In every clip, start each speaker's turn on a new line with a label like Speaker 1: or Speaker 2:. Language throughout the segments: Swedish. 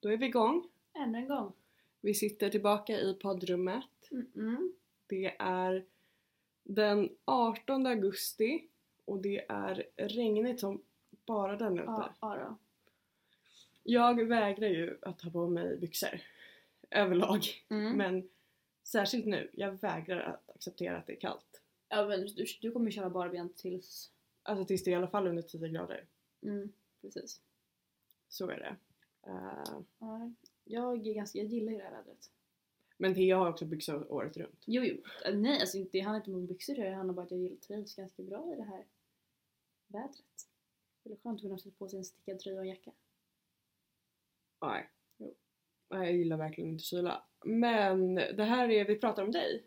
Speaker 1: Då är vi igång.
Speaker 2: Ännu en gång.
Speaker 1: Vi sitter tillbaka i poddrummet.
Speaker 2: Mm-mm.
Speaker 1: Det är den 18 augusti och det är regnigt som bara den ute.
Speaker 2: Ja, ja då.
Speaker 1: Jag vägrar ju att ta på mig byxor överlag.
Speaker 2: Mm.
Speaker 1: Men särskilt nu, jag vägrar att acceptera att det är kallt.
Speaker 2: Ja, men du, du kommer köra barbent tills...
Speaker 1: Alltså tills det är i alla fall under 10 grader.
Speaker 2: Mm, precis.
Speaker 1: Så är det. Eh,
Speaker 2: Ja, jag, är ganska, jag gillar ju det här vädret.
Speaker 1: men Thea har också byxor året runt.
Speaker 2: Jo, jo. Äh, Nej, alltså inte, det handlar inte om byxor. Det handlar bara om att jag gillar trivs ganska bra i det här vädret. Det är skönt att kunna sätta på sig en stickad tröja och en jacka.
Speaker 1: Nej. Nej, jag gillar verkligen inte kyla. Men det här är, vi pratar om dig.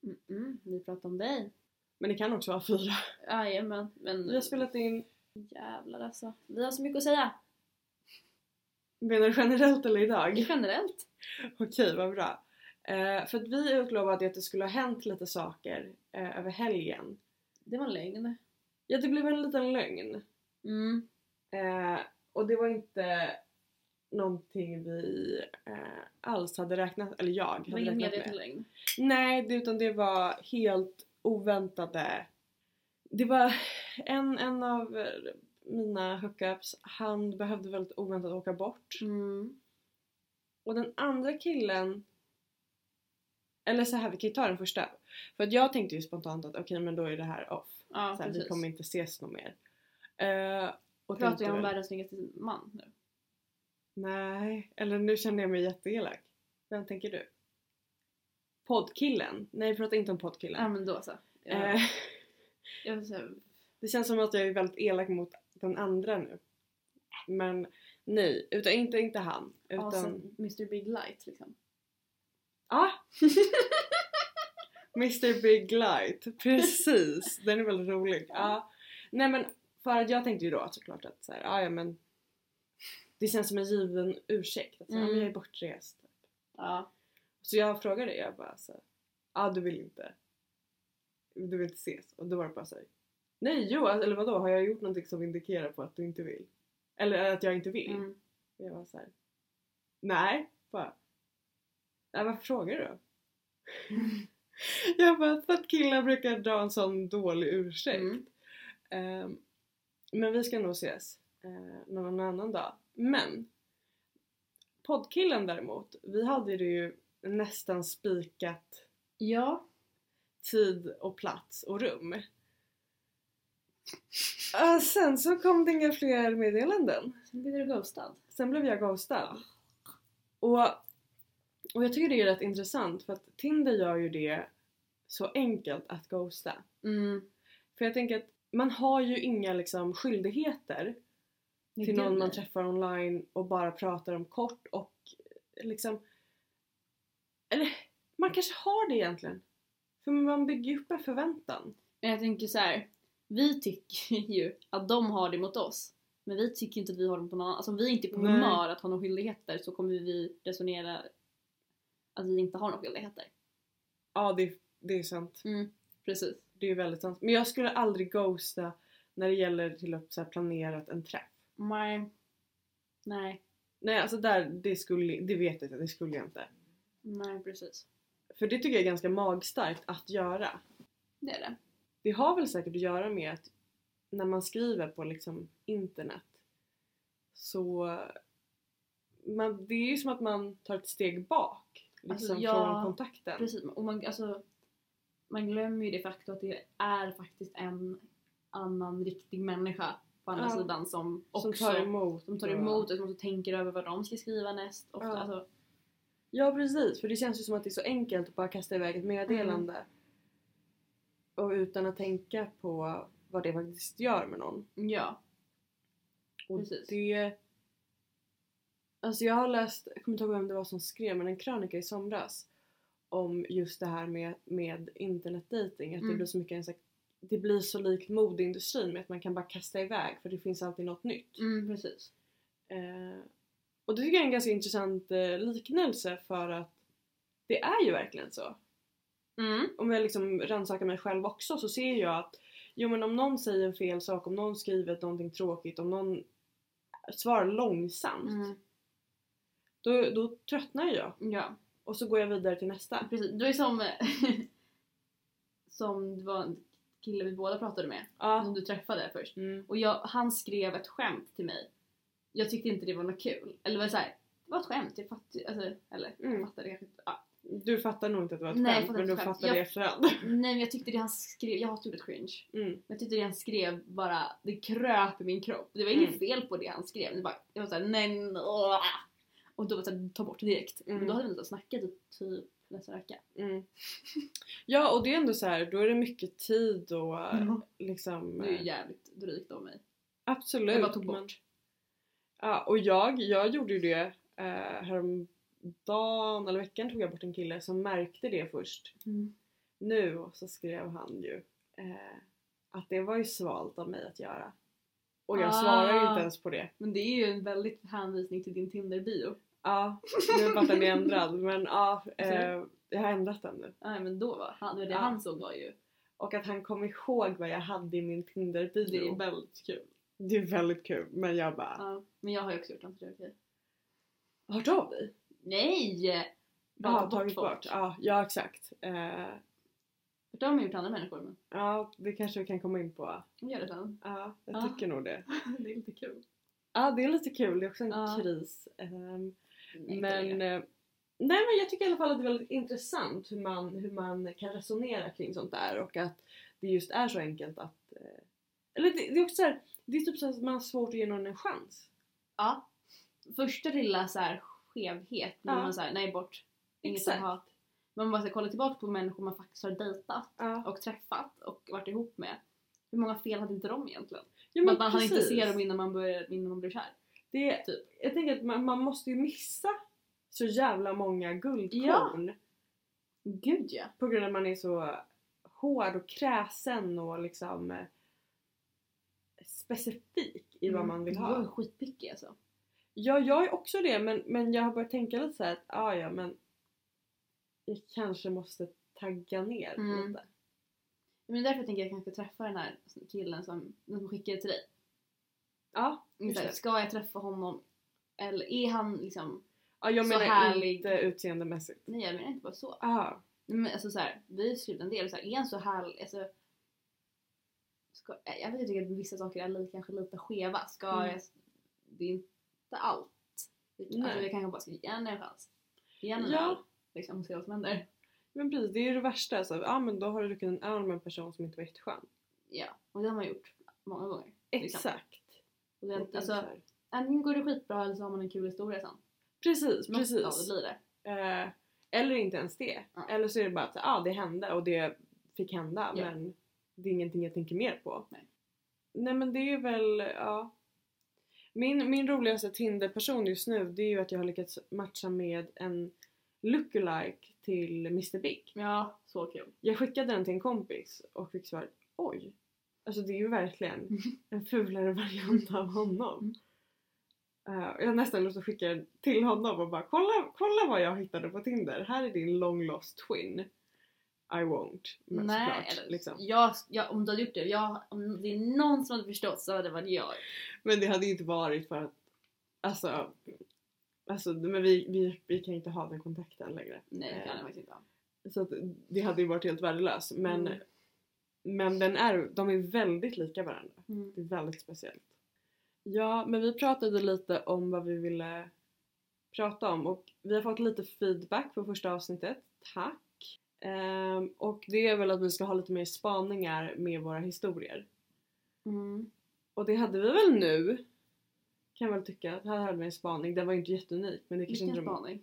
Speaker 2: Mm-mm. Vi pratar om dig.
Speaker 1: Men det kan också vara fyra.
Speaker 2: Jajamän, men...
Speaker 1: Vi har spelat in,
Speaker 2: Jävlar alltså. Vi har så mycket att säga.
Speaker 1: menar du generellt eller idag?
Speaker 2: Generellt.
Speaker 1: Okej, vad bra. Eh, för att vi utlovade att det skulle ha hänt lite saker eh, över helgen.
Speaker 2: Det var en lögn.
Speaker 1: Ja, det blev en liten lögn.
Speaker 2: Mm.
Speaker 1: Eh, och det var inte någonting vi eh, alls hade räknat, eller jag hade
Speaker 2: Det var ingen
Speaker 1: räknat
Speaker 2: medveten
Speaker 1: med.
Speaker 2: lögn.
Speaker 1: Nej, det, utan det var helt oväntade. Det var en, en av eh, mina hookups, han behövde väldigt oväntat åka bort.
Speaker 2: Mm.
Speaker 1: Och den andra killen... Eller så här, vi kan ju ta den första. För att jag tänkte ju spontant att okej men då är det här off.
Speaker 2: Ja,
Speaker 1: så här, vi
Speaker 2: precis.
Speaker 1: kommer inte ses något mer. Eh, och
Speaker 2: Pratar
Speaker 1: tänkte
Speaker 2: jag om
Speaker 1: väl,
Speaker 2: världens snyggaste man nu?
Speaker 1: Nej, eller nu känner jag mig jätteelak. Vem tänker du? Poddkillen? Nej vi pratar inte om
Speaker 2: Ja
Speaker 1: poddkillen.
Speaker 2: men då så.
Speaker 1: Eh,
Speaker 2: Jag, jag, vill säga-
Speaker 1: det känns som att jag är väldigt elak mot den andra nu. Men nej, utan inte, inte han. Utan...
Speaker 2: ja, sen Mr Big Light liksom.
Speaker 1: Ja! Mr Big Light, precis. Den är väldigt rolig. Ja. Nej men för att jag tänkte ju då att såklart att så här, ja, ja men det känns som en given ursäkt. Att, så här, ja, men
Speaker 2: Mm.
Speaker 1: jag är bortrest.
Speaker 2: Ja.
Speaker 1: Så jag frågade jag bara så här, ja du vill inte. Du vill inte ses. Och då var det bara så här, nej jo alltså, eller vadå har jag gjort någonting som indikerar på att du inte vill? Eller att jag inte vill?
Speaker 2: Mm.
Speaker 1: Och jag var så här, nej. Bara, nej varför frågar du då? jag bara, för att killar brukar dra en sån dålig ursäkt.
Speaker 2: Mm.
Speaker 1: Ehm, men vi ska nog ses eh, någon annan dag. Men poddkillen däremot, vi hade det ju nästan spikat
Speaker 2: Ja.
Speaker 1: tid och plats och rum. Eh, sen så kom det inga fler meddelanden.
Speaker 2: Sen blir du ghostad.
Speaker 1: Sen blev jag ghostad. Och, och jag tycker det är rätt intressant för att Tinder gör ju det så enkelt att ghosta.
Speaker 2: Mm.
Speaker 1: För jag tänker att man har ju inga liksom skyldigheter till någon man träffar online och bara pratar om kort och liksom... Eller man kanske har det egentligen. För man bygger ju upp en förväntan.
Speaker 2: Men jag tänker så här. Vi tycker ju att de har det mot oss. Men vi tycker inte att vi har det på någon annan. Alltså om vi inte är på
Speaker 1: Nej.
Speaker 2: humör att ha några skyldigheter så kommer vi resonera att vi inte har några skyldigheter.
Speaker 1: Ja, det, det är sant.
Speaker 2: Precis.
Speaker 1: Det är väldigt sant. Men jag skulle aldrig ghosta när det gäller till att så här, planerat en träff.
Speaker 2: Nej. Nej.
Speaker 1: Nej alltså där, det, skulle, det vet jag inte, det skulle jag inte.
Speaker 2: Nej precis.
Speaker 1: För det tycker jag är ganska magstarkt att göra.
Speaker 2: Det är det.
Speaker 1: Det har väl säkert att göra med att när man skriver på liksom internet så man, det är ju som att man tar ett steg bak liksom,
Speaker 2: Alltså, ja,
Speaker 1: från kontakten.
Speaker 2: Precis, och man, alltså, man glömmer ju det faktum att det är faktiskt en annan riktig människa på andra
Speaker 1: Ja.
Speaker 2: sidan som
Speaker 1: Som
Speaker 2: också
Speaker 1: tar emot.
Speaker 2: som tar
Speaker 1: och-
Speaker 2: emot och som också tänker över vad de ska skriva näst. Ofta.
Speaker 1: Ja.
Speaker 2: Alltså,
Speaker 1: Ja precis, för det känns ju som att det är så enkelt att bara kasta iväg ett meddelande.
Speaker 2: Mm.
Speaker 1: Och utan att tänka på vad det faktiskt gör med någon.
Speaker 2: ja.
Speaker 1: Och
Speaker 2: Precis.
Speaker 1: det... Alltså jag har läst, jag kommer inte ihåg vem det var som skrev, men en krönika i somras om just det här med, med internetdating. Att det
Speaker 2: Mm.
Speaker 1: blir så mycket en sak, det blir så likt modeindustrin med att man kan bara kasta iväg för det finns alltid något nytt.
Speaker 2: Mm, precis.
Speaker 1: Eh, och det tycker jag är en ganska intressant eh, liknelse för att det är ju verkligen så
Speaker 2: Mm.
Speaker 1: om jag liksom rannsakar mig själv också så ser jag att jo men om någon säger en fel sak, om någon skriver någonting tråkigt, om någon svarar långsamt.
Speaker 2: Mm.
Speaker 1: Då, då tröttnar jag
Speaker 2: Ja,
Speaker 1: och så går jag vidare till nästa.
Speaker 2: precis. Du är som... som det var en kille vi båda pratade med.
Speaker 1: Ja.
Speaker 2: Som du träffade först.
Speaker 1: Mm.
Speaker 2: Och jag, han skrev ett skämt till mig. Jag tyckte inte det var något kul. Eller var det så här, det var ett skämt. Jag fattade, alltså, eller
Speaker 1: Mm.
Speaker 2: jag fattade kanske inte. Ja.
Speaker 1: Du fattar nog inte att det var ett
Speaker 2: Nej, jag
Speaker 1: skämt
Speaker 2: fattar
Speaker 1: men
Speaker 2: inte
Speaker 1: du
Speaker 2: ett skämt.
Speaker 1: fattar
Speaker 2: Jag-
Speaker 1: det i efterhand.
Speaker 2: Nej men jag tyckte det han skrev, jag hatar ordet cringe.
Speaker 1: Mm.
Speaker 2: Men jag tyckte det han skrev bara, det kröp i min kropp. Det var inget
Speaker 1: Mm.
Speaker 2: fel på det han skrev. Det bara, jag var såhär, nej, åh. Och då var det såhär, ta bort det direkt.
Speaker 1: Mm.
Speaker 2: Men då hade vi inte snackat i typ nästa vecka.
Speaker 1: Mm. Ja och det är ändå så här, då är det mycket tid och eh, liksom...
Speaker 2: Det är ju
Speaker 1: eh,
Speaker 2: jävligt drygt av mig.
Speaker 1: Absolut.
Speaker 2: Jag bara tog
Speaker 1: men-
Speaker 2: bort.
Speaker 1: Ja, och jag, jag gjorde ju det eh, häromdagen eller veckan tog jag bort en kille som märkte det först.
Speaker 2: Mm.
Speaker 1: Nu så skrev han ju eh, att det var ju svalt av mig att göra. Och jag
Speaker 2: Ah.
Speaker 1: svarar ju inte ens på det.
Speaker 2: Men det är ju en väldigt hänvisning till din Tinder-bio.
Speaker 1: Ja, nu är den är ändrad men ja,
Speaker 2: Vad sa
Speaker 1: eh, jag har ändrat den nu.
Speaker 2: Nej men då var han, det var det
Speaker 1: Ja.
Speaker 2: han såg var ju
Speaker 1: Och att han kom ihåg vad jag hade i min
Speaker 2: Det är
Speaker 1: Tinder-video.
Speaker 2: väldigt kul.
Speaker 1: Det är väldigt kul men jag bara,
Speaker 2: Ja. Men jag har ju också gjort något så det är okej.
Speaker 1: har du av dig?
Speaker 2: Nej! Bara
Speaker 1: Ja,
Speaker 2: ta bort
Speaker 1: tagit
Speaker 2: folk.
Speaker 1: bort. Ja, ja exakt. Eh,
Speaker 2: Det har man gjort andra människor men
Speaker 1: ja, det kanske vi kan komma in på.
Speaker 2: de gör det sen.
Speaker 1: Ja, jag
Speaker 2: Ja.
Speaker 1: tycker nog det.
Speaker 2: det är lite kul.
Speaker 1: Ja, det är lite kul. Det är också en
Speaker 2: Ja.
Speaker 1: kris. Ehm,
Speaker 2: Nej,
Speaker 1: men,
Speaker 2: det är-
Speaker 1: eh, nej, men jag tycker i alla fall att det är väldigt intressant hur man, hur man kan resonera kring sånt där och att det just är så enkelt att... eh, Eller det, det är också så här, det är typ så att man har svårt att ge någon en chans.
Speaker 2: Ja. Första lilla så här skevhet när
Speaker 1: Ja.
Speaker 2: man säger nej bort. Inget
Speaker 1: Exakt.
Speaker 2: att ha. Man bara ska kolla tillbaka på människor man faktiskt har dejtat
Speaker 1: Ja,
Speaker 2: och träffat och varit ihop med. Hur många fel hade inte de egentligen?
Speaker 1: ja
Speaker 2: att man hann inte
Speaker 1: precis.
Speaker 2: se dem innan man, började, innan man blev kär.
Speaker 1: det, är-
Speaker 2: typ.
Speaker 1: Jag tänker att man, man måste ju missa så jävla många guldkorn
Speaker 2: Gud ja!
Speaker 1: på grund av att man är så hård och kräsen och liksom eh, specifik i
Speaker 2: Mm.
Speaker 1: vad man vill ha.
Speaker 2: Jag är skitpicky alltså.
Speaker 1: Ja, jag är också det men, men jag har börjat tänka lite så här att ah, ja men jag kanske måste tagga ner
Speaker 2: Mm.
Speaker 1: lite.
Speaker 2: Men därför tänker jag kanske träffa den här killen som, den som skickade till dig.
Speaker 1: Ja,
Speaker 2: Så här,
Speaker 1: just det.
Speaker 2: Ska jag träffa honom? Eller är han liksom...
Speaker 1: ja jag
Speaker 2: så
Speaker 1: menar
Speaker 2: härlig.
Speaker 1: inte utseendemässigt.
Speaker 2: Nej jag menar inte bara så.
Speaker 1: Ah,
Speaker 2: Nej, Men alltså så här, vi har ju skrivit en del. Så här, är han så härlig? Alltså, ska, jag vet inte, jag tycker att vissa saker är li, kanske lite skeva. Ska
Speaker 1: Mm.
Speaker 2: jag, det är inte allt. Alltså,
Speaker 1: Nej.
Speaker 2: jag kanske bara ska ge henne en chans. Ge henne en
Speaker 1: Ja.
Speaker 2: öl, Liksom och se vad som händer.
Speaker 1: men precis, det är ju det värsta. Så, ah, men då har du druckit en öl med en person som inte var jätteskön.
Speaker 2: Ja, och det har man gjort många gånger. Liksom.
Speaker 1: Exakt.
Speaker 2: Och det,
Speaker 1: Det är så
Speaker 2: alltså,
Speaker 1: här.
Speaker 2: antingen går det skitbra eller så har man en kul historia sen.
Speaker 1: precis,
Speaker 2: Något av det
Speaker 1: precis.
Speaker 2: blir det.
Speaker 1: Eh, eller inte ens det.
Speaker 2: Ja.
Speaker 1: Eller så är det bara att ah, det hände och det fick hända
Speaker 2: Ja.
Speaker 1: men det är ingenting jag tänker mer på.
Speaker 2: Nej.
Speaker 1: Nej, men det är väl, ja. Min, min roligaste Tinder-person just nu det är ju att jag har lyckats matcha med en lookalike till Mr Big.
Speaker 2: Ja, så kul.
Speaker 1: Jag skickade den till en kompis och fick svaret oj. Alltså det är ju verkligen en fulare variant av honom.
Speaker 2: Mm.
Speaker 1: Eh, och jag har nästan lust att skicka den till honom och bara kolla, kolla vad jag hittade på Tinder. Här är din long lost twin. I won't. Men
Speaker 2: Nej,
Speaker 1: såklart,
Speaker 2: eller,
Speaker 1: liksom.
Speaker 2: jag, jag, om du hade gjort det, jag, om det är någon som hade förstått så hade det varit jag.
Speaker 1: Men det hade ju inte varit för att alltså, alltså men vi, vi, vi kan inte ha den kontakten längre.
Speaker 2: Nej, det kan jag
Speaker 1: Eh,
Speaker 2: faktiskt inte. ha.
Speaker 1: Så att det hade ju varit helt värdelöst. Men,
Speaker 2: Mm.
Speaker 1: men den är, de är väldigt lika varandra.
Speaker 2: Mm.
Speaker 1: Det är väldigt speciellt. Ja, men vi pratade lite om vad vi ville prata om och vi har fått lite feedback på första avsnittet. Tack! Ehm, och det är väl att vi ska ha lite mer spaningar med våra historier.
Speaker 2: Mm.
Speaker 1: Och det hade vi väl nu? Kan jag väl tycka. Här hade vi en spaning. Den var ju inte jätteunik men det kanske
Speaker 2: Vilken
Speaker 1: inte de-
Speaker 2: spaning?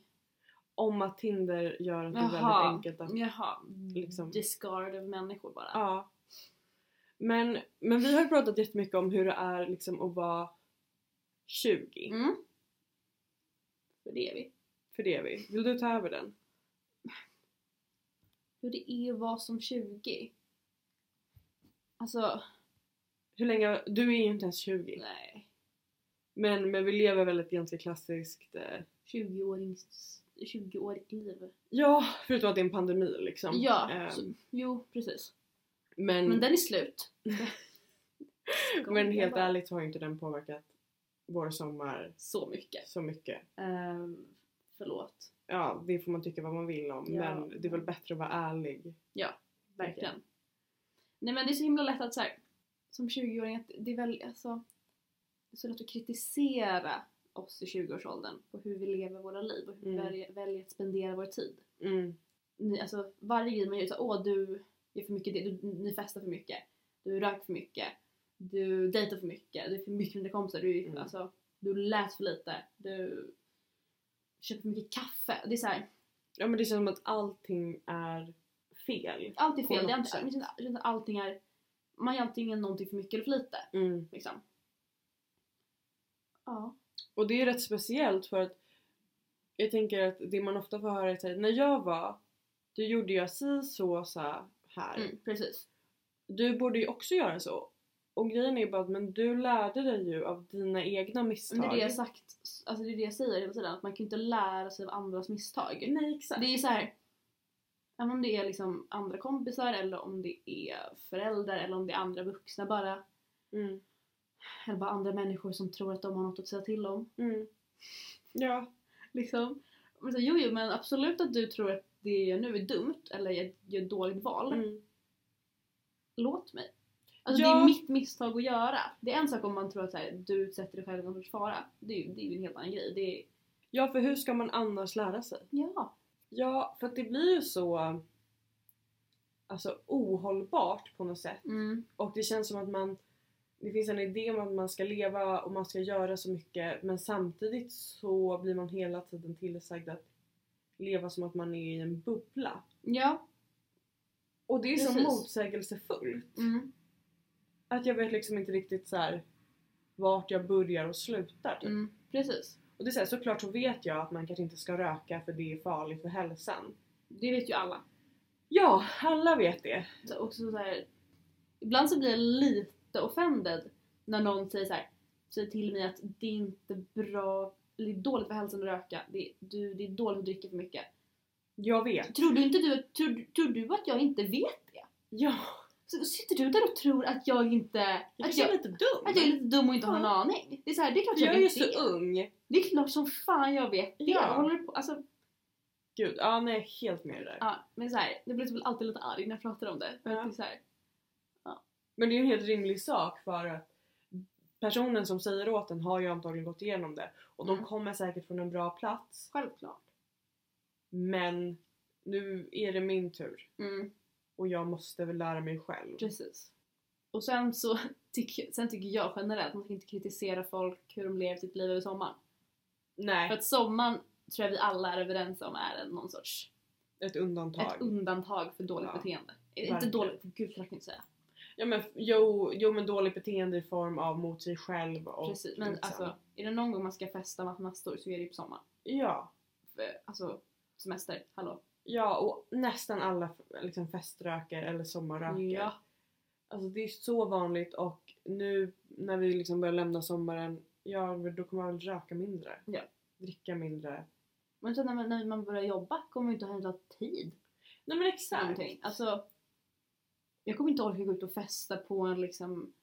Speaker 1: Om att Tinder gör att det är
Speaker 2: Jaha.
Speaker 1: väldigt enkelt att...
Speaker 2: Jaha.
Speaker 1: liksom-
Speaker 2: Discard av människor bara.
Speaker 1: Ja. Men, men vi har pratat jättemycket om hur det är liksom att vara 20.
Speaker 2: Mm. För det är vi.
Speaker 1: För det är vi. Vill du ta över den?
Speaker 2: Hur det är att vara som 20. Alltså,
Speaker 1: Hur länge, du är ju inte ens 20.
Speaker 2: nej.
Speaker 1: Men, men vi lever väl ett ganska klassiskt... Eh,
Speaker 2: 20-årings... 20-årigt liv.
Speaker 1: ja, förutom att det är en pandemi liksom.
Speaker 2: Ja,
Speaker 1: Ehm,
Speaker 2: så, jo precis.
Speaker 1: men,
Speaker 2: Men
Speaker 1: men,
Speaker 2: den är slut.
Speaker 1: helt ärligt så har ju inte den påverkat vår sommar
Speaker 2: Så mycket.
Speaker 1: så mycket.
Speaker 2: Ehm, förlåt.
Speaker 1: Ja, det får man tycka vad man vill om
Speaker 2: Ja.
Speaker 1: men det är väl bättre att vara ärlig.
Speaker 2: Verkligen. Nej men det är så himla lätt att så här, som 20-åring, att det är väl alltså, det är så lätt att kritisera oss i 20-årsåldern på hur vi lever våra liv och hur vi
Speaker 1: Mm.
Speaker 2: väljer, väljer att spendera vår tid.
Speaker 1: Mm.
Speaker 2: Ni, alltså, varje grej man gör, så, här, åh du gör för mycket det, du, ni festar för mycket, du rök för mycket, du dejtar för mycket, du är för mycket med dina kompisar, du,
Speaker 1: Mm.
Speaker 2: alltså, du läser för lite, du köper för mycket kaffe. Det är såhär,
Speaker 1: Ja men det känns som att allting är fel.
Speaker 2: allt är
Speaker 1: På
Speaker 2: fel. Det är,
Speaker 1: något
Speaker 2: alltid- det känns det känns att allting är, man gör antingen någonting för mycket eller för lite.
Speaker 1: Mm.
Speaker 2: Liksom. Ja.
Speaker 1: Och det är rätt speciellt för att jag tänker att det man ofta får höra är såhär, när jag var, då gjorde jag si så så här.
Speaker 2: Mm, precis.
Speaker 1: Du borde ju också göra så. Och grejen är ju bara att men du lärde dig ju av dina egna
Speaker 2: Men
Speaker 1: misstag.
Speaker 2: det är det jag sagt, alltså det är det jag säger hela tiden, att man kan ju inte lära sig av andras misstag.
Speaker 1: Nej exakt.
Speaker 2: Det är ju så här. även om det är liksom andra kompisar eller om det är föräldrar eller om det är andra vuxna bara,
Speaker 1: Mm.
Speaker 2: eller bara andra människor som tror att de har något att säga till om.
Speaker 1: Mm. Ja.
Speaker 2: Liksom. Men så, här, jo, jo, men absolut att du tror att det jag gör nu är dumt eller jag gör ett dåligt val.
Speaker 1: Mm.
Speaker 2: låt mig. Alltså
Speaker 1: Ja.
Speaker 2: det är mitt misstag att göra. Det är en sak om man tror att så här, du utsätter dig själv för någon sorts fara. Det är, ju- det är ju en helt annan grej. Det är,
Speaker 1: Ja för hur ska man annars lära sig?
Speaker 2: ja.
Speaker 1: Ja för att det blir ju så alltså ohållbart på något sätt.
Speaker 2: Mm.
Speaker 1: Och det känns som att man det finns en idé om att man ska leva och man ska göra så mycket men samtidigt så blir man hela tiden tillsagd att leva som att man är i en bubbla.
Speaker 2: Ja.
Speaker 1: Och det är så
Speaker 2: Precis.
Speaker 1: motsägelsefullt.
Speaker 2: Mm.
Speaker 1: Att jag vet liksom inte riktigt så här vart jag börjar och slutar. Typ.
Speaker 2: Mm. Precis.
Speaker 1: Och det är så här, såklart så vet jag att man kanske inte ska röka för det är farligt för hälsan.
Speaker 2: Det vet ju alla.
Speaker 1: Ja, alla vet det.
Speaker 2: Så också så här, ibland så blir jag lite offended när någon säger så här, säger till mig att det är inte bra, det är dåligt för hälsan att röka, det är, du, det är dåligt att dricka för mycket.
Speaker 1: Jag vet.
Speaker 2: Tror du inte du, tror, tror du att jag inte vet det?
Speaker 1: Ja,
Speaker 2: Så sitter du där och tror att jag inte...
Speaker 1: jag
Speaker 2: att
Speaker 1: är lite dum.
Speaker 2: Att alltså, jag är lite dum och inte har
Speaker 1: Ja.
Speaker 2: en aning. Det är, så här, det är klart jag,
Speaker 1: jag är ju
Speaker 2: vet
Speaker 1: så
Speaker 2: det.
Speaker 1: ung.
Speaker 2: Det är klart som fan jag vet det.
Speaker 1: Ja.
Speaker 2: Jag håller på, alltså,
Speaker 1: Gud, ja nej helt med där.
Speaker 2: ja, men så här, det blir typ alltid lite arg när jag pratar om det. För
Speaker 1: Ja.
Speaker 2: att det är så här,
Speaker 1: Men det är ju en helt rimlig sak för att personen som säger åt en har ju antagligen gått igenom det och de
Speaker 2: Mm.
Speaker 1: kommer säkert från en bra plats
Speaker 2: självklart.
Speaker 1: men nu är det min tur
Speaker 2: Mm,
Speaker 1: och jag måste väl lära mig själv.
Speaker 2: precis. Och sen så tycker, sen tycker jag generellt att man ska inte kritisera folk hur de lever sitt liv över sommaren. För
Speaker 1: Nej,
Speaker 2: att sommaren tror jag vi alla är överens om är en- någon sorts
Speaker 1: ett undantag.
Speaker 2: ett undantag för dåligt
Speaker 1: Ja.
Speaker 2: beteende. Eh, Inte
Speaker 1: Verkligen.
Speaker 2: dåligt, gud så kan jag inte säga.
Speaker 1: ja, men, jo, jo men dåligt beteende i form av mot sig själv och
Speaker 2: Precis. Men
Speaker 1: liksom-
Speaker 2: alltså, är det någon gång man ska festa med massor så är det ju på sommaren.
Speaker 1: Ja,
Speaker 2: För, alltså, semester, hallå.
Speaker 1: ja och nästan alla liksom, feströker eller sommarröker.
Speaker 2: Ja.
Speaker 1: Alltså det är så vanligt och nu när vi liksom börjar lämna sommaren, ja då kommer man röka mindre.
Speaker 2: Ja.
Speaker 1: Dricka mindre.
Speaker 2: Men sen när man, när man börjar jobba kommer man ju inte ha hela tid
Speaker 1: Nej men
Speaker 2: till
Speaker 1: exakt.
Speaker 2: någonting. Alltså, jag kommer inte orka gå ut och festa på en, liksom,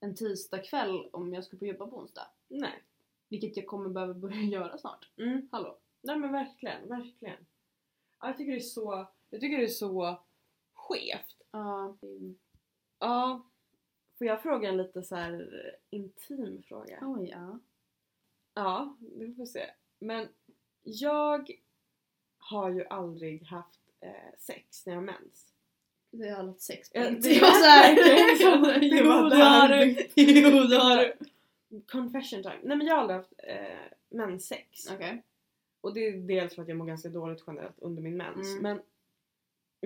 Speaker 2: en tisdagkväll om jag ska på jobba på onsdag.
Speaker 1: Nej.
Speaker 2: Vilket jag kommer behöva börja göra snart.
Speaker 1: Mm.
Speaker 2: Hallå?
Speaker 1: Nej men verkligen, verkligen. Ja, jag tycker det är så, jag tycker det är så skevt.
Speaker 2: Ja.
Speaker 1: Ja. Får jag fråga en lite så här intim fråga?
Speaker 2: Oj, ja.
Speaker 1: Ja, det får vi se. Men jag har ju aldrig haft eh, sex när jag har mens.
Speaker 2: Det har låtit sex
Speaker 1: Ja,
Speaker 2: punkt.
Speaker 1: det-
Speaker 2: Jag var såhär,
Speaker 1: verkligen som att det
Speaker 2: Jo
Speaker 1: var
Speaker 2: det har
Speaker 1: där.
Speaker 2: du! Jo det har du!
Speaker 1: har Confession time. Nej men jag har aldrig haft eh, menssex.
Speaker 2: Okej.
Speaker 1: Och det är dels för att jag mår ganska dåligt generellt under min mens.
Speaker 2: Mm.
Speaker 1: Men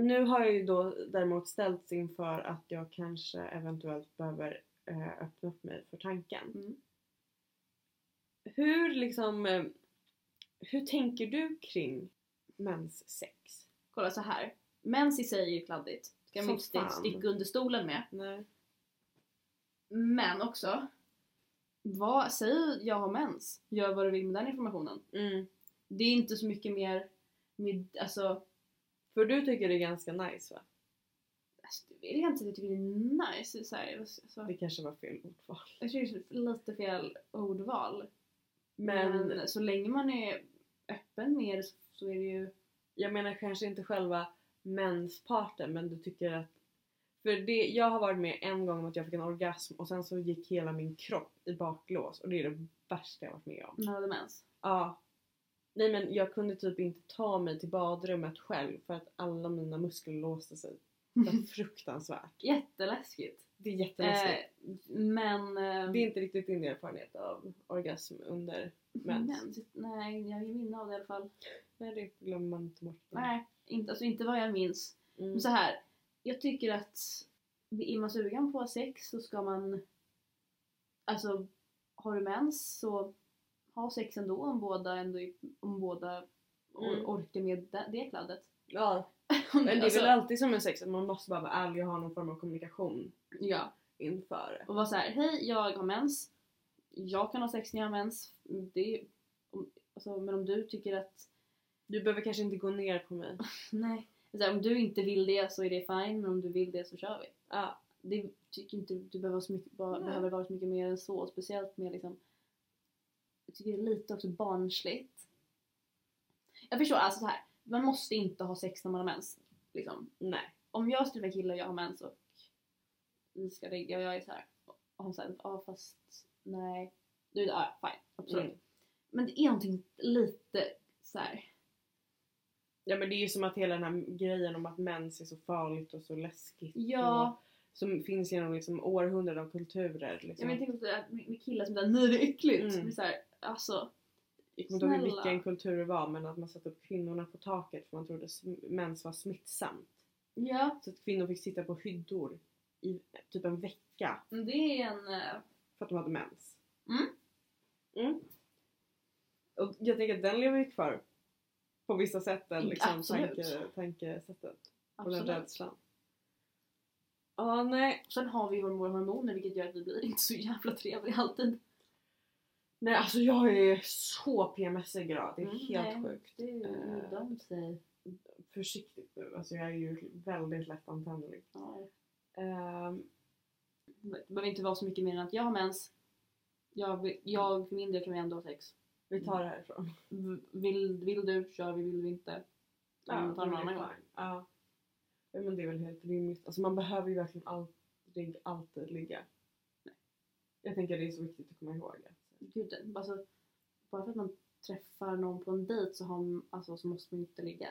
Speaker 1: nu har jag ju då däremot ställts inför att jag kanske eventuellt behöver eh, öppna upp mig för tanken.
Speaker 2: Mm.
Speaker 1: Hur liksom, eh, hur tänker du kring menssex?
Speaker 2: Kolla så här. Mens i sig är ju kladdigt. Ska
Speaker 1: Som
Speaker 2: man inte
Speaker 1: fan.
Speaker 2: sticka under stolen med.
Speaker 1: Nej.
Speaker 2: Men också. Vad, säg jag har mens. Gör vad du vill med den informationen.
Speaker 1: Mm.
Speaker 2: Det är inte så mycket mer med, alltså,
Speaker 1: För du tycker det är ganska nice va?
Speaker 2: alltså det vill jag inte säga att jag tycker det är nice. Så här, alltså,
Speaker 1: Det kanske var fel ordval.
Speaker 2: jag tycker det är lite fel ordval.
Speaker 1: Men,
Speaker 2: Men så länge man är öppen med det så- så är det ju...
Speaker 1: jag menar kanske inte själva mensparten men du tycker att för det, jag har varit med en gång om att jag fick en orgasm och sen så gick hela min kropp i baklås och det är det värsta jag varit med om.
Speaker 2: När jag hade mens.
Speaker 1: Ja. Nej men jag kunde typ inte ta mig till badrummet själv för att alla mina muskler låste sig. Det var fruktansvärt.
Speaker 2: Jätteläskigt.
Speaker 1: Det är jätteläskigt.
Speaker 2: Eh, men... eh,
Speaker 1: Det är inte riktigt din erfarenhet av orgasm under mens.
Speaker 2: mens. Nej, jag har ju minne av det i alla fall.
Speaker 1: Nej det glömmer man inte bort.
Speaker 2: Nej, inte, alltså inte vad jag minns.
Speaker 1: Mm.
Speaker 2: Men Så här, jag tycker att är man sugen på sex så ska man... Alltså, har du mens så ha sex ändå om båda, ändå, om båda or-
Speaker 1: Mm.
Speaker 2: orkar med det, det kladdet. Alltså,
Speaker 1: Ja. Men det är väl alltid som en sex att man måste bara vara ärlig och ha någon form av kommunikation
Speaker 2: Ja,
Speaker 1: inför det.
Speaker 2: och vara så här, hej jag har mens. Jag kan ha sex när jag har mens. Det är, om, alltså, men om du tycker att...
Speaker 1: Du behöver kanske inte gå ner på mig.
Speaker 2: Nej. Så här, om du inte vill det så är det fine, men om du vill det så kör vi.
Speaker 1: Ja.
Speaker 2: det tycker inte du behöver, så mycket, bara,
Speaker 1: Nej.
Speaker 2: behöver vara så mycket mer än så. och Speciellt med liksom... Jag tycker det är lite också barnsligt. Jag förstår, alltså så här. Man måste inte ha sex när man har mens. Liksom.
Speaker 1: Nej.
Speaker 2: Om jag skulle vara kille och jag har mens och vi ska ligga och jag är så här. Och hon säger ja ah, fast nej. Du, ja, fine, absolut.
Speaker 1: Mm.
Speaker 2: Men det är någonting lite så här.
Speaker 1: Ja men det är ju som att hela den här grejen om att mens är så farligt och så läskigt.
Speaker 2: Ja,
Speaker 1: Och, som finns genom liksom århundraden av kulturer. Liksom.
Speaker 2: jag menar, tänk också att med med killar som säger nej det är äckligt.
Speaker 1: Mm.
Speaker 2: Men så här, alltså,
Speaker 1: jag kommer inte ihåg
Speaker 2: snälla.
Speaker 1: vilken kultur det var men att man satte upp kvinnorna på taket för man trodde sm- mens var smittsamt.
Speaker 2: ja.
Speaker 1: Så att kvinnor fick sitta på hyddor i typ en vecka
Speaker 2: Men Det är en... eh,
Speaker 1: för att de hade mens.
Speaker 2: Mm.
Speaker 1: Mm. Och jag tänker att den lever ju kvar på vissa sätt, den liksom,
Speaker 2: Absolut.
Speaker 1: tanke, tankesättet. Och den
Speaker 2: Absolut.
Speaker 1: rädslan. Ja, nej.
Speaker 2: Sen har vi våra hormoner vilket gör att vi blir inte så jävla trevliga alltid.
Speaker 1: Nej, alltså jag är så PMS i grad. Det är
Speaker 2: Mm,
Speaker 1: helt
Speaker 2: nej.
Speaker 1: sjukt.
Speaker 2: Det
Speaker 1: Eh,
Speaker 2: de säger.
Speaker 1: Försiktigt nu. Alltså jag är ju väldigt lättantändlig.
Speaker 2: Ja.
Speaker 1: Ehm,
Speaker 2: Det behöver inte vara så mycket mer än att jag har mens. Jag, jag för min del kan vi ändå ha sex.
Speaker 1: vi tar det härifrån.
Speaker 2: V- Vill, vill du kör vi, vill du inte. Ja, vi tar en
Speaker 1: det är
Speaker 2: annan gång.
Speaker 1: fine. Ja. Ja, men det är väl helt rimligt. Alltså man behöver ju verkligen aldrig, alltid ligga. Jag tänker det är så viktigt att komma ihåg. det.
Speaker 2: Gud, alltså, bara för att man träffar någon på en dejt så, har, man- alltså, så måste man inte ligga.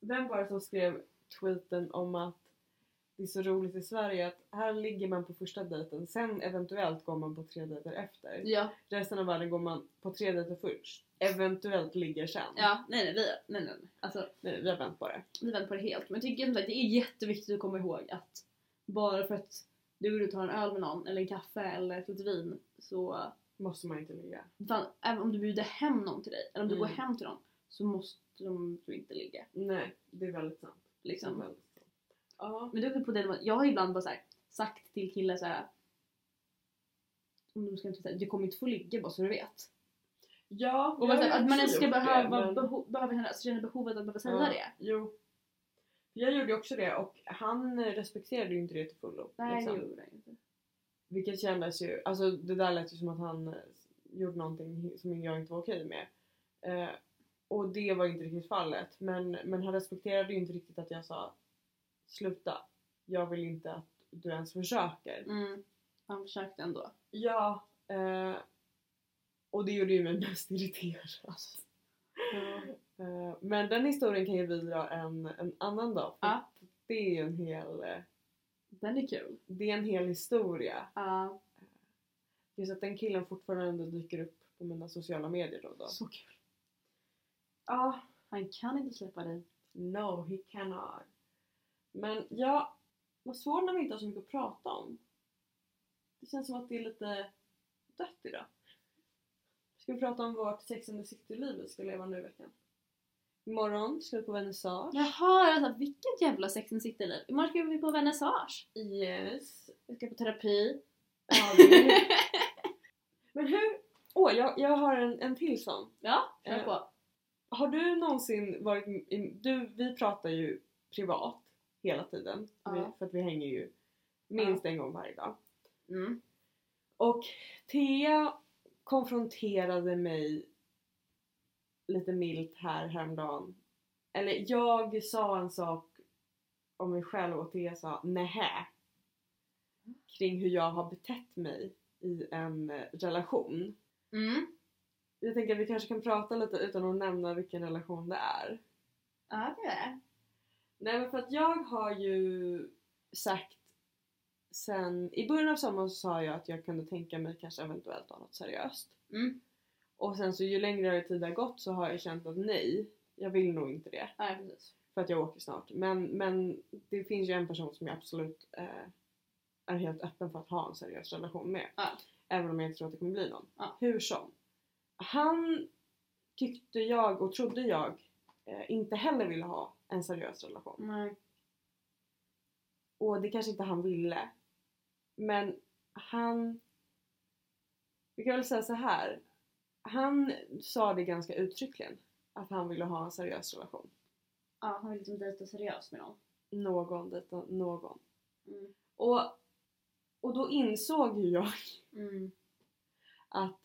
Speaker 1: Vem var det som skrev tweeten om att det är så roligt i Sverige att här ligger man på första dejten, sen eventuellt går man på tre dejter efter.
Speaker 2: Ja,
Speaker 1: Resten av världen går man på tre dejter först, eventuellt ligger sen.
Speaker 2: ja nej, nej, vi, nej, nej, nej. Alltså,
Speaker 1: Nej, vi har vänt på det.
Speaker 2: Vi vänder på det helt. Men jag tycker som sagt, det är jätteviktigt att komma ihåg att bara för att du går ut och tar en öl med någon eller en kaffe eller ett glas vin så
Speaker 1: Måste man inte ligga.
Speaker 2: fan, även om du bjuder hem någon till dig eller om du
Speaker 1: Mm.
Speaker 2: går hem till någon så måste de du inte ligga.
Speaker 1: Nej, det är väldigt sant. Det är
Speaker 2: Liksom.
Speaker 1: väldigt sant. Ja.
Speaker 2: Men du är också på det med- jag har ibland bara så här, sagt till killar så här. Om de ska inte säga, du kommer inte få ligga bara så du vet.
Speaker 1: Ja,
Speaker 2: Och
Speaker 1: jag
Speaker 2: bara, så
Speaker 1: har
Speaker 2: här, att man
Speaker 1: också
Speaker 2: ens ska
Speaker 1: gjort det,
Speaker 2: behöva,
Speaker 1: men-
Speaker 2: beho- behöva känna, alltså, känna behovet att behöva säga
Speaker 1: Ja,
Speaker 2: det.
Speaker 1: Jo. Jag gjorde också det och han respekterade ju inte det till fullo.
Speaker 2: Nej
Speaker 1: liksom.
Speaker 2: det gjorde jag inte.
Speaker 1: Vilket kändes ju, alltså det där lät ju som att han eh, gjorde någonting som jag inte var okej med. Eh, och det var inte riktigt fallet. Men, men han respekterade ju inte riktigt att jag sa sluta. Jag vill inte att du ens försöker.
Speaker 2: Mm. Han försökte ändå.
Speaker 1: Ja. Eh, och det gjorde ju mig mest irriterad. Eh, men den historien kan ju vi dra en, en annan dag. för
Speaker 2: Ja.
Speaker 1: Det är ju en hel, eh,
Speaker 2: Den är kul.
Speaker 1: det är en hel historia.
Speaker 2: Ja.
Speaker 1: Just att den killen fortfarande dyker upp på mina sociala medier då och då.
Speaker 2: Så kul.
Speaker 1: Ja.
Speaker 2: Han kan inte släppa dig.
Speaker 1: No, he cannot. Men ja, vad svårt när vi inte har så mycket att prata om. Det känns som att det är lite dött idag. Ska vi prata om vårt Sex and the City-liv vi ska leva nu i veckan? Imorgon ska vi på vernissage.
Speaker 2: Jaha, jag sa, vilket jävla Sex and the City-liv. Imorgon ska vi på vernissage.
Speaker 1: Yes.
Speaker 2: Vi ska på terapi.
Speaker 1: Ja, det- Men hur... Åh, jag, jag har en, en till sån.
Speaker 2: Ja,
Speaker 1: Eh,
Speaker 2: kör på.
Speaker 1: Har du någonsin varit... i- Du, vi pratar ju privat hela tiden.
Speaker 2: Ja.
Speaker 1: Vi, för att vi hänger ju minst en gång varje dag.
Speaker 2: Mm.
Speaker 1: Och Thea konfronterade mig lite milt här häromdagen. Eller jag sa en sak om mig själv och Thea sa nähä. Kring hur jag har betett mig i en eh, relation.
Speaker 2: Mm.
Speaker 1: Jag tänker att vi kanske kan prata lite utan att nämna vilken relation det är.
Speaker 2: Ja, det är det.
Speaker 1: Nej men för att jag har ju sagt sen i början av sommaren så sa jag att jag kunde tänka mig kanske eventuellt ha något seriöst.
Speaker 2: Mm.
Speaker 1: Och sen så ju längre tid har gått så har jag känt att nej, jag vill nog inte det.
Speaker 2: Ja, precis.
Speaker 1: För att jag åker snart. Men, men det finns ju en person som jag absolut eh, är helt öppen för att ha en seriös relation med.
Speaker 2: Ja.
Speaker 1: Även om jag inte tror att det kommer bli någon.
Speaker 2: Ja.
Speaker 1: Hur som. Han tyckte jag och trodde jag eh, inte heller ville ha en seriös relation.
Speaker 2: Nej.
Speaker 1: Och det kanske inte han ville. Men han... Vi kan väl säga så här. Han sa det ganska uttryckligen. Att han ville ha en seriös relation.
Speaker 2: Ja, han vill liksom dejta seriöst med någon.
Speaker 1: Någon dejta någon.
Speaker 2: Mm.
Speaker 1: Och, och då insåg ju jag
Speaker 2: Mm.
Speaker 1: att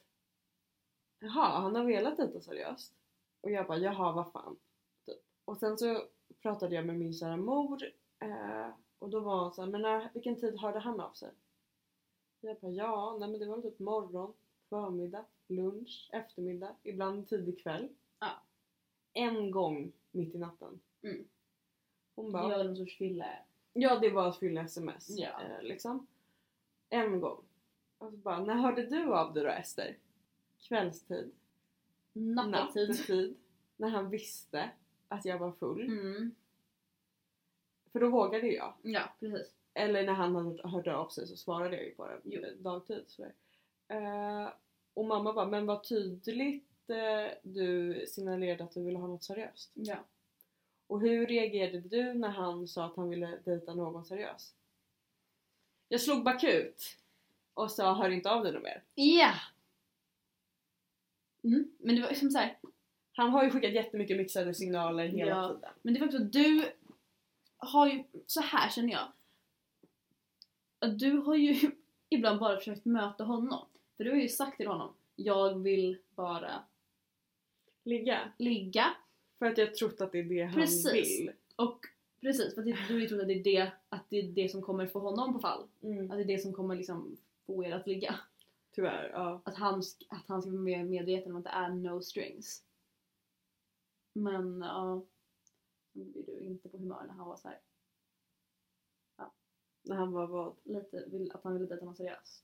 Speaker 1: jaha, han har velat dejta seriöst. Och jag bara jaha, vad fan. Typ. Och sen så pratade jag med min kära mor eh, och då var hon såhär, men när, vilken tid hörde han av sig? Jag bara ja, nej men det var väl typ morgon, förmiddag, lunch, eftermiddag, ibland tidig kväll.
Speaker 2: Ja.
Speaker 1: En gång mitt i natten.
Speaker 2: Mm.
Speaker 1: Hon
Speaker 2: Det
Speaker 1: bara,
Speaker 2: är väl någon sorts fylla.
Speaker 1: Ja, det var att fylla sms.
Speaker 2: Ja.
Speaker 1: Eh, liksom. En gång. Och så bara, när hörde du av dig då Ester? Kvällstid.
Speaker 2: Nattetid.
Speaker 1: Nattetid. När han visste att jag var full.
Speaker 2: Mm.
Speaker 1: För då vågade jag.
Speaker 2: Ja, precis.
Speaker 1: Eller när han hade hört av sig så svarade jag ju bara
Speaker 2: Jo.
Speaker 1: dagtid. Så eh, och mamma bara, men vad tydligt eh, du signalerade att du ville ha något seriöst.
Speaker 2: Ja.
Speaker 1: Och hur reagerade du när han sa att han ville dejta någon seriös? Jag slog bakut och sa hör inte av dig något mer.
Speaker 2: Ja! Mm. Men det var som så här,
Speaker 1: Han har ju skickat jättemycket mixade signaler hela
Speaker 2: Ja.
Speaker 1: tiden.
Speaker 2: Men det var också du har ju, så här känner jag. Att du har ju ibland bara försökt möta honom. För du har ju sagt till honom, jag vill bara
Speaker 1: Ligga.
Speaker 2: ligga.
Speaker 1: För att jag trott att det är det han
Speaker 2: Precis.
Speaker 1: vill.
Speaker 2: Och precis, för att det- du har ju trott att det är det, att det är det som kommer få honom på fall.
Speaker 1: Mm.
Speaker 2: Att det är det som kommer liksom få er att ligga.
Speaker 1: Tyvärr, ja.
Speaker 2: Att han, sk- att han ska vara mer medveten om att det är no strings. Men ja, nu blev du inte på humör när han var så här.
Speaker 1: När han var vad?
Speaker 2: lite, vill, att han ville dejta någon seriös.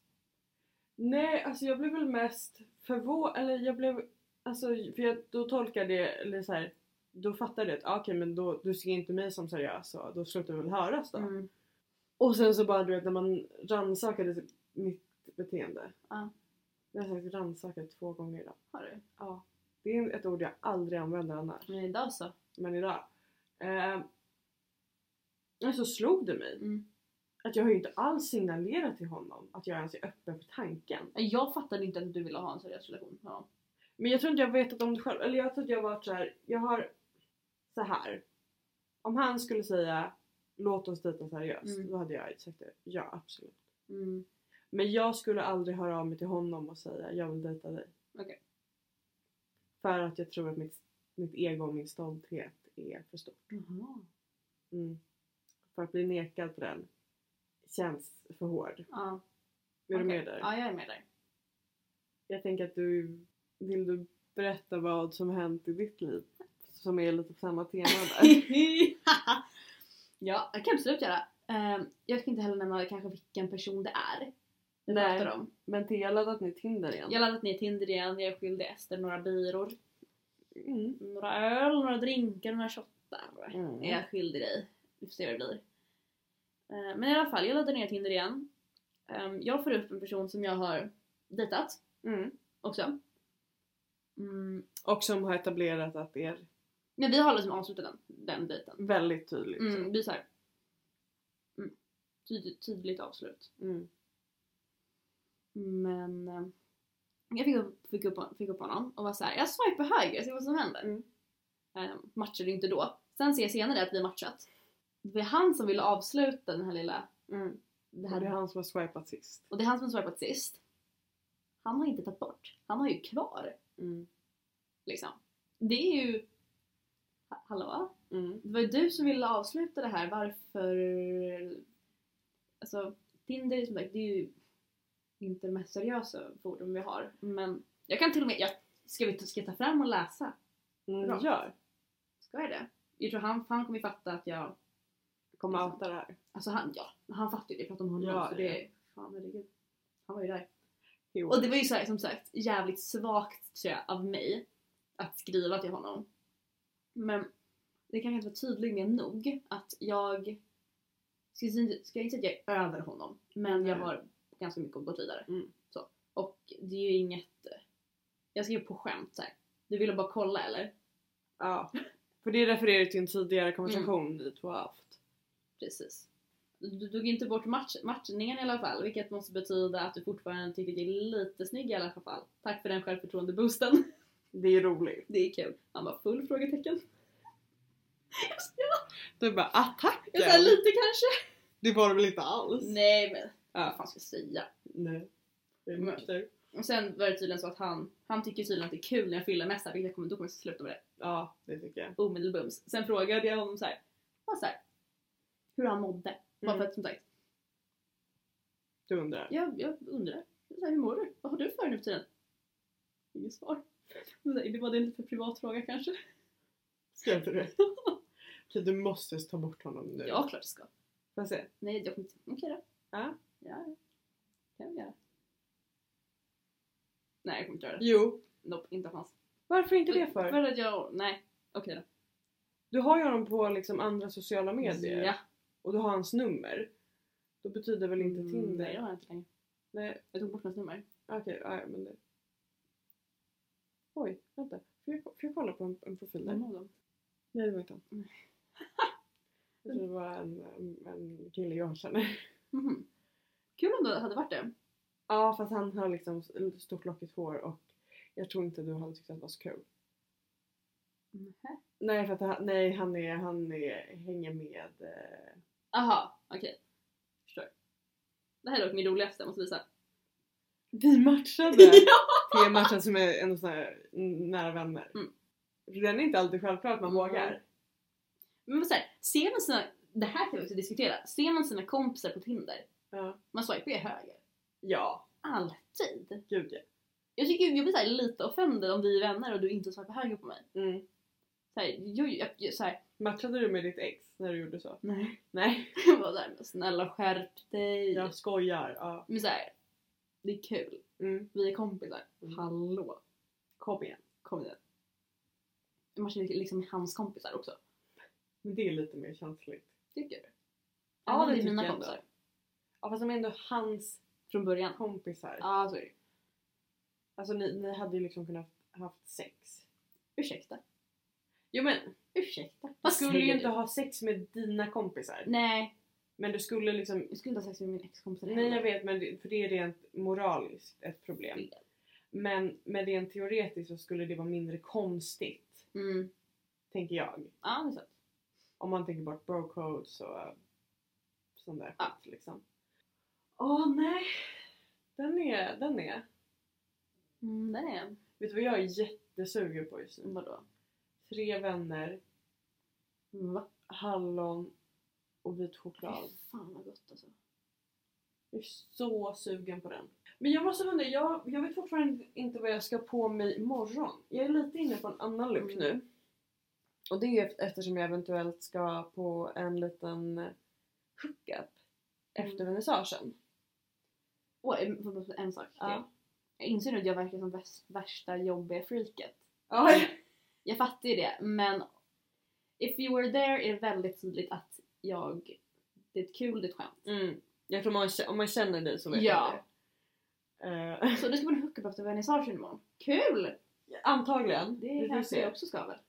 Speaker 1: Nej, alltså jag blev väl mest förvånad, eller jag blev, alltså för jag, då tolkade jag, eller så här, då fattade jag att ah, okej men då, du ser inte mig som seriös och då slutar vi väl höras då.
Speaker 2: Mm.
Speaker 1: Och sen så bara du vet när man rannsakade mitt beteende.
Speaker 2: Ja.
Speaker 1: Jag har sagt rannsaka två gånger idag.
Speaker 2: Har du?
Speaker 1: Ja. Det är ett ord jag aldrig använder annars.
Speaker 2: Men idag så.
Speaker 1: Men idag. Eh, men så slog det mig
Speaker 2: Mm.
Speaker 1: att jag har ju inte alls signalerat till honom att jag ens är öppen för tanken.
Speaker 2: Eh, Jag fattade inte att du ville ha en seriös relation med honom.
Speaker 1: Men jag tror inte jag vetat om det själv. Eller jag tror att jag varit så här. Jag har så här. Om han skulle säga låt oss dejta seriöst.
Speaker 2: Mm.
Speaker 1: Då hade jag sagt det. Ja absolut.
Speaker 2: Mm.
Speaker 1: Men jag skulle aldrig höra av mig till honom och säga jag vill dejta dig.
Speaker 2: Okej.
Speaker 1: För att jag tror att mitt, mitt ego och min stolthet är för stort.
Speaker 2: Jaha.
Speaker 1: Mm. För att bli nekad på den känns för hård.
Speaker 2: Ja.
Speaker 1: Är du
Speaker 2: okej.
Speaker 1: med där?
Speaker 2: Ja, jag är med där.
Speaker 1: Jag tänker att du vill du berätta vad som hänt i ditt liv? Som är lite på samma tema där.
Speaker 2: ja, jag kan absolut göra. Ehm, jag ska inte heller nämna kanske vilken person det är. vi
Speaker 1: Nej.
Speaker 2: pratar om.
Speaker 1: Men Thea har laddat ner Tinder igen.
Speaker 2: Jag har laddat ner Tinder igen, jag är skyldig Ester några biror,
Speaker 1: Mm.
Speaker 2: några öl, några drinkar, några shottar.
Speaker 1: Mm.
Speaker 2: är jag skyldig dig. Vi får se vad det blir. Eh, Men i alla fall, jag laddar ner Tinder igen. Ehm, Jag får upp en person som jag har dejtat
Speaker 1: Mm.
Speaker 2: också. Mm.
Speaker 1: Och som har etablerat att det är
Speaker 2: Men vi har liksom avslutat den, den dejten.
Speaker 1: väldigt tydligt.
Speaker 2: Mm, vi är såhär... Mm, tydligt, tydligt avslut.
Speaker 1: Mm.
Speaker 2: Men... eh, Jag fick upp, fick upp, fick upp honom och var såhär, jag swipar höger, se vad som händer.
Speaker 1: Mm.
Speaker 2: Ehm, matchade inte då. Sen ser jag senare att vi matchat. Det är han som ville avsluta den här lilla...
Speaker 1: Mm.
Speaker 2: Det
Speaker 1: Och
Speaker 2: här
Speaker 1: det är han som har swipat sist.
Speaker 2: Och det är han som har swipat Mm. sist. Han har inte tagit bort. Han har ju kvar liksom. det är ju... Ha- Hallå?
Speaker 1: Mm.
Speaker 2: Det var ju du som ville avsluta det här. Varför... Alltså, Tinder är som sagt, det är ju inte det mest seriösa forum vi har. Men jag kan till och med... Jag, ska vi ta- ska jag ta fram och läsa?
Speaker 1: Mm,
Speaker 2: Bra.
Speaker 1: gör.
Speaker 2: Ska jag det? Jag tror han, han kommer ju fatta att jag...
Speaker 1: Kommer
Speaker 2: Liksom.
Speaker 1: outa det här.
Speaker 2: Alltså han, ja, han fattar ju det. Jag pratar om honom.
Speaker 1: Ja,
Speaker 2: så
Speaker 1: det-
Speaker 2: det... Fan herregud. Han var ju där.
Speaker 1: Jo.
Speaker 2: Och det var ju så här, som sagt jävligt svagt tror jag av mig att skriva till honom. Men det kanske inte var tydligt med nog att jag ska, inte- ska jag inte säga att jag är över honom men jag
Speaker 1: Nej.
Speaker 2: har ganska mycket och gått vidare.
Speaker 1: Mm.
Speaker 2: Så. Och det är ju inget eh, jag skrev på skämt så här. Du ville bara kolla eller?
Speaker 1: Ja. För det refererar till en tidigare konversation
Speaker 2: Mm.
Speaker 1: vi två har haft.
Speaker 2: Precis. Du tog inte bort match, matchningen i alla fall vilket måste betyda att du fortfarande tycker det är lite snygg i alla fall. Tack för den självförtroende-boosten.
Speaker 1: Det är roligt.
Speaker 2: Det är kul. Han bara full frågetecken. Jag sa-
Speaker 1: Du bara attacken!
Speaker 2: Jag sa lite kanske.
Speaker 1: Det var det väl inte alls?
Speaker 2: Nej men
Speaker 1: Ja.
Speaker 2: vad fan ska jag säga?
Speaker 1: Nej. Det är
Speaker 2: Men-
Speaker 1: nykter.
Speaker 2: Och sen var det tydligen så att han, han tycker tydligen att det är kul när jag fyller mässa vilket jag kommer, då kommer jag sluta med det
Speaker 1: Ja, det tycker jag.
Speaker 2: omedelbums. Sen frågade jag honom så här, bara så här hur han mådde. Bara
Speaker 1: Mm.
Speaker 2: för att som sagt,
Speaker 1: Du undrar.
Speaker 2: jag, jag undrar. Så här, hur mår du? Vad har du för nu för tiden? Inget svar. Men så här, Det var det en lite för privat fråga kanske?
Speaker 1: Skrev du det? Okej, du måste ta bort honom nu.
Speaker 2: Ja, klart det ska.
Speaker 1: Får jag se?
Speaker 2: Nej, jag kommer inte. Okej då.
Speaker 1: Ja.
Speaker 2: Ja, ja. kan vi göra. Nej, jag kommer inte göra det.
Speaker 1: Jo.
Speaker 2: Nope, inte en chans.
Speaker 1: Varför inte det för?
Speaker 2: För att jag, nej. Okej då.
Speaker 1: Du har ju honom på liksom andra sociala medier.
Speaker 2: Ja.
Speaker 1: Och du har hans nummer. Då betyder väl
Speaker 2: Mm.
Speaker 1: inte Tinder?
Speaker 2: Nej, det har jag inte längre.
Speaker 1: Nej.
Speaker 2: Jag tog bort hans nummer.
Speaker 1: Okej, ja, ja, men det... Oj, vänta. Får jag, får jag kolla på en, en profil där?
Speaker 2: Någon av dem.
Speaker 1: Nej, det var inte han.
Speaker 2: Mm. Nej.
Speaker 1: Jag tror det var en, en, en kille jag känner.
Speaker 2: Mhm. Kul om det hade varit det.
Speaker 1: Ja, fast han har liksom stort lockigt hår och jag tror inte du hade tyckt att det var så kul. Mm,
Speaker 2: Nähä.
Speaker 1: Nej, för att han, nej, han, är, han är, hänger med... Eh,
Speaker 2: Aha, okej. Förstår. Det här är dock min roligaste, jag måste visa.
Speaker 1: vi matchade!
Speaker 2: ja!
Speaker 1: Vi matchade som är en sån här nära vänner.
Speaker 2: Mm.
Speaker 1: Den är inte alltid självklart att man
Speaker 2: Mm.
Speaker 1: vågar.
Speaker 2: Men så här, ser man sina, det här kan vi också diskutera. Ser man sina kompisar på Tinder,
Speaker 1: Ja.
Speaker 2: man swipar ju höger.
Speaker 1: ja,
Speaker 2: Alltid.
Speaker 1: gud ja.
Speaker 2: Jag tycker jag blir så här lite offended om vi är vänner och du inte swipar höger på mig.
Speaker 1: Mm.
Speaker 2: Så här, jag, jag, jag, så här,
Speaker 1: Matchade du med ditt ex när du gjorde så?
Speaker 2: nej.
Speaker 1: Nej,
Speaker 2: Jag var där, men snälla skärp dig.
Speaker 1: jag skojar. Ja.
Speaker 2: Men så här, det är kul.
Speaker 1: Mm.
Speaker 2: Vi är kompisar.
Speaker 1: Mm.
Speaker 2: Hallå,
Speaker 1: Kom igen.
Speaker 2: kom igen. Jag matchar ju liksom med hans kompisar också.
Speaker 1: Men det är lite mer känsligt.
Speaker 2: Tycker du?
Speaker 1: Ja,
Speaker 2: Även om
Speaker 1: det
Speaker 2: är
Speaker 1: tycker
Speaker 2: mina
Speaker 1: jag
Speaker 2: kompisar.
Speaker 1: ändå. Ja fast de är ändå hans
Speaker 2: Från början.
Speaker 1: kompisar.
Speaker 2: Ja, så är det.
Speaker 1: Alltså ni, ni hade ju liksom kunnat haft sex.
Speaker 2: Ursäkta.
Speaker 1: Jo men
Speaker 2: Ursäkta.
Speaker 1: du
Speaker 2: Vad
Speaker 1: skulle ju
Speaker 2: säger
Speaker 1: inte
Speaker 2: du?
Speaker 1: ha Mm. sex med dina kompisar.
Speaker 2: Nej,
Speaker 1: Men du skulle liksom...
Speaker 2: jag skulle inte ha sex med min ex-kompis
Speaker 1: Nej jag vet men det, för det är rent moraliskt ett problem.
Speaker 2: Fel.
Speaker 1: Men, men rent teoretiskt så skulle det vara mindre konstigt.
Speaker 2: Mm.
Speaker 1: Tänker jag.
Speaker 2: Ja, det är sant.
Speaker 1: Om man tänker bort bro codes och eh, sån där
Speaker 2: Ja.
Speaker 1: skit liksom. Åh nej! Den är, den är.
Speaker 2: Mm, där är en.
Speaker 1: Vet du vad jag är jättesugen på just nu?
Speaker 2: Vadå?
Speaker 1: Tre vänner,
Speaker 2: Va?
Speaker 1: hallon och vit
Speaker 2: Fan
Speaker 1: choklad.
Speaker 2: vad gott alltså.
Speaker 1: Jag är så sugen på den. Men jag måste undra, jag, jag vet fortfarande inte vad jag ska på mig imorgon. Jag är lite inne på en annan look
Speaker 2: Mm.
Speaker 1: nu. Och det är eft- eftersom jag eventuellt ska på en liten hookup efter
Speaker 2: Mm.
Speaker 1: vernissagen.
Speaker 2: Och en, får jag bara säga en sak till.
Speaker 1: Ja.
Speaker 2: Jag inser nu att jag verkar som väs- värsta jobbiga freaket.
Speaker 1: Oj!
Speaker 2: Jag fattar ju det, men If you were there är väldigt tydligt att jag... Det är ett kul, det är ett skämt.
Speaker 1: Mm. Jag tror man, om man känner dig så vet
Speaker 2: Ja.
Speaker 1: man det. Eh,
Speaker 2: Så du ska på en hookup efter vernissagen imorgon. Kul!
Speaker 1: antagligen.
Speaker 2: Det
Speaker 1: Vi får
Speaker 2: kanske
Speaker 1: se.
Speaker 2: jag också ska väl.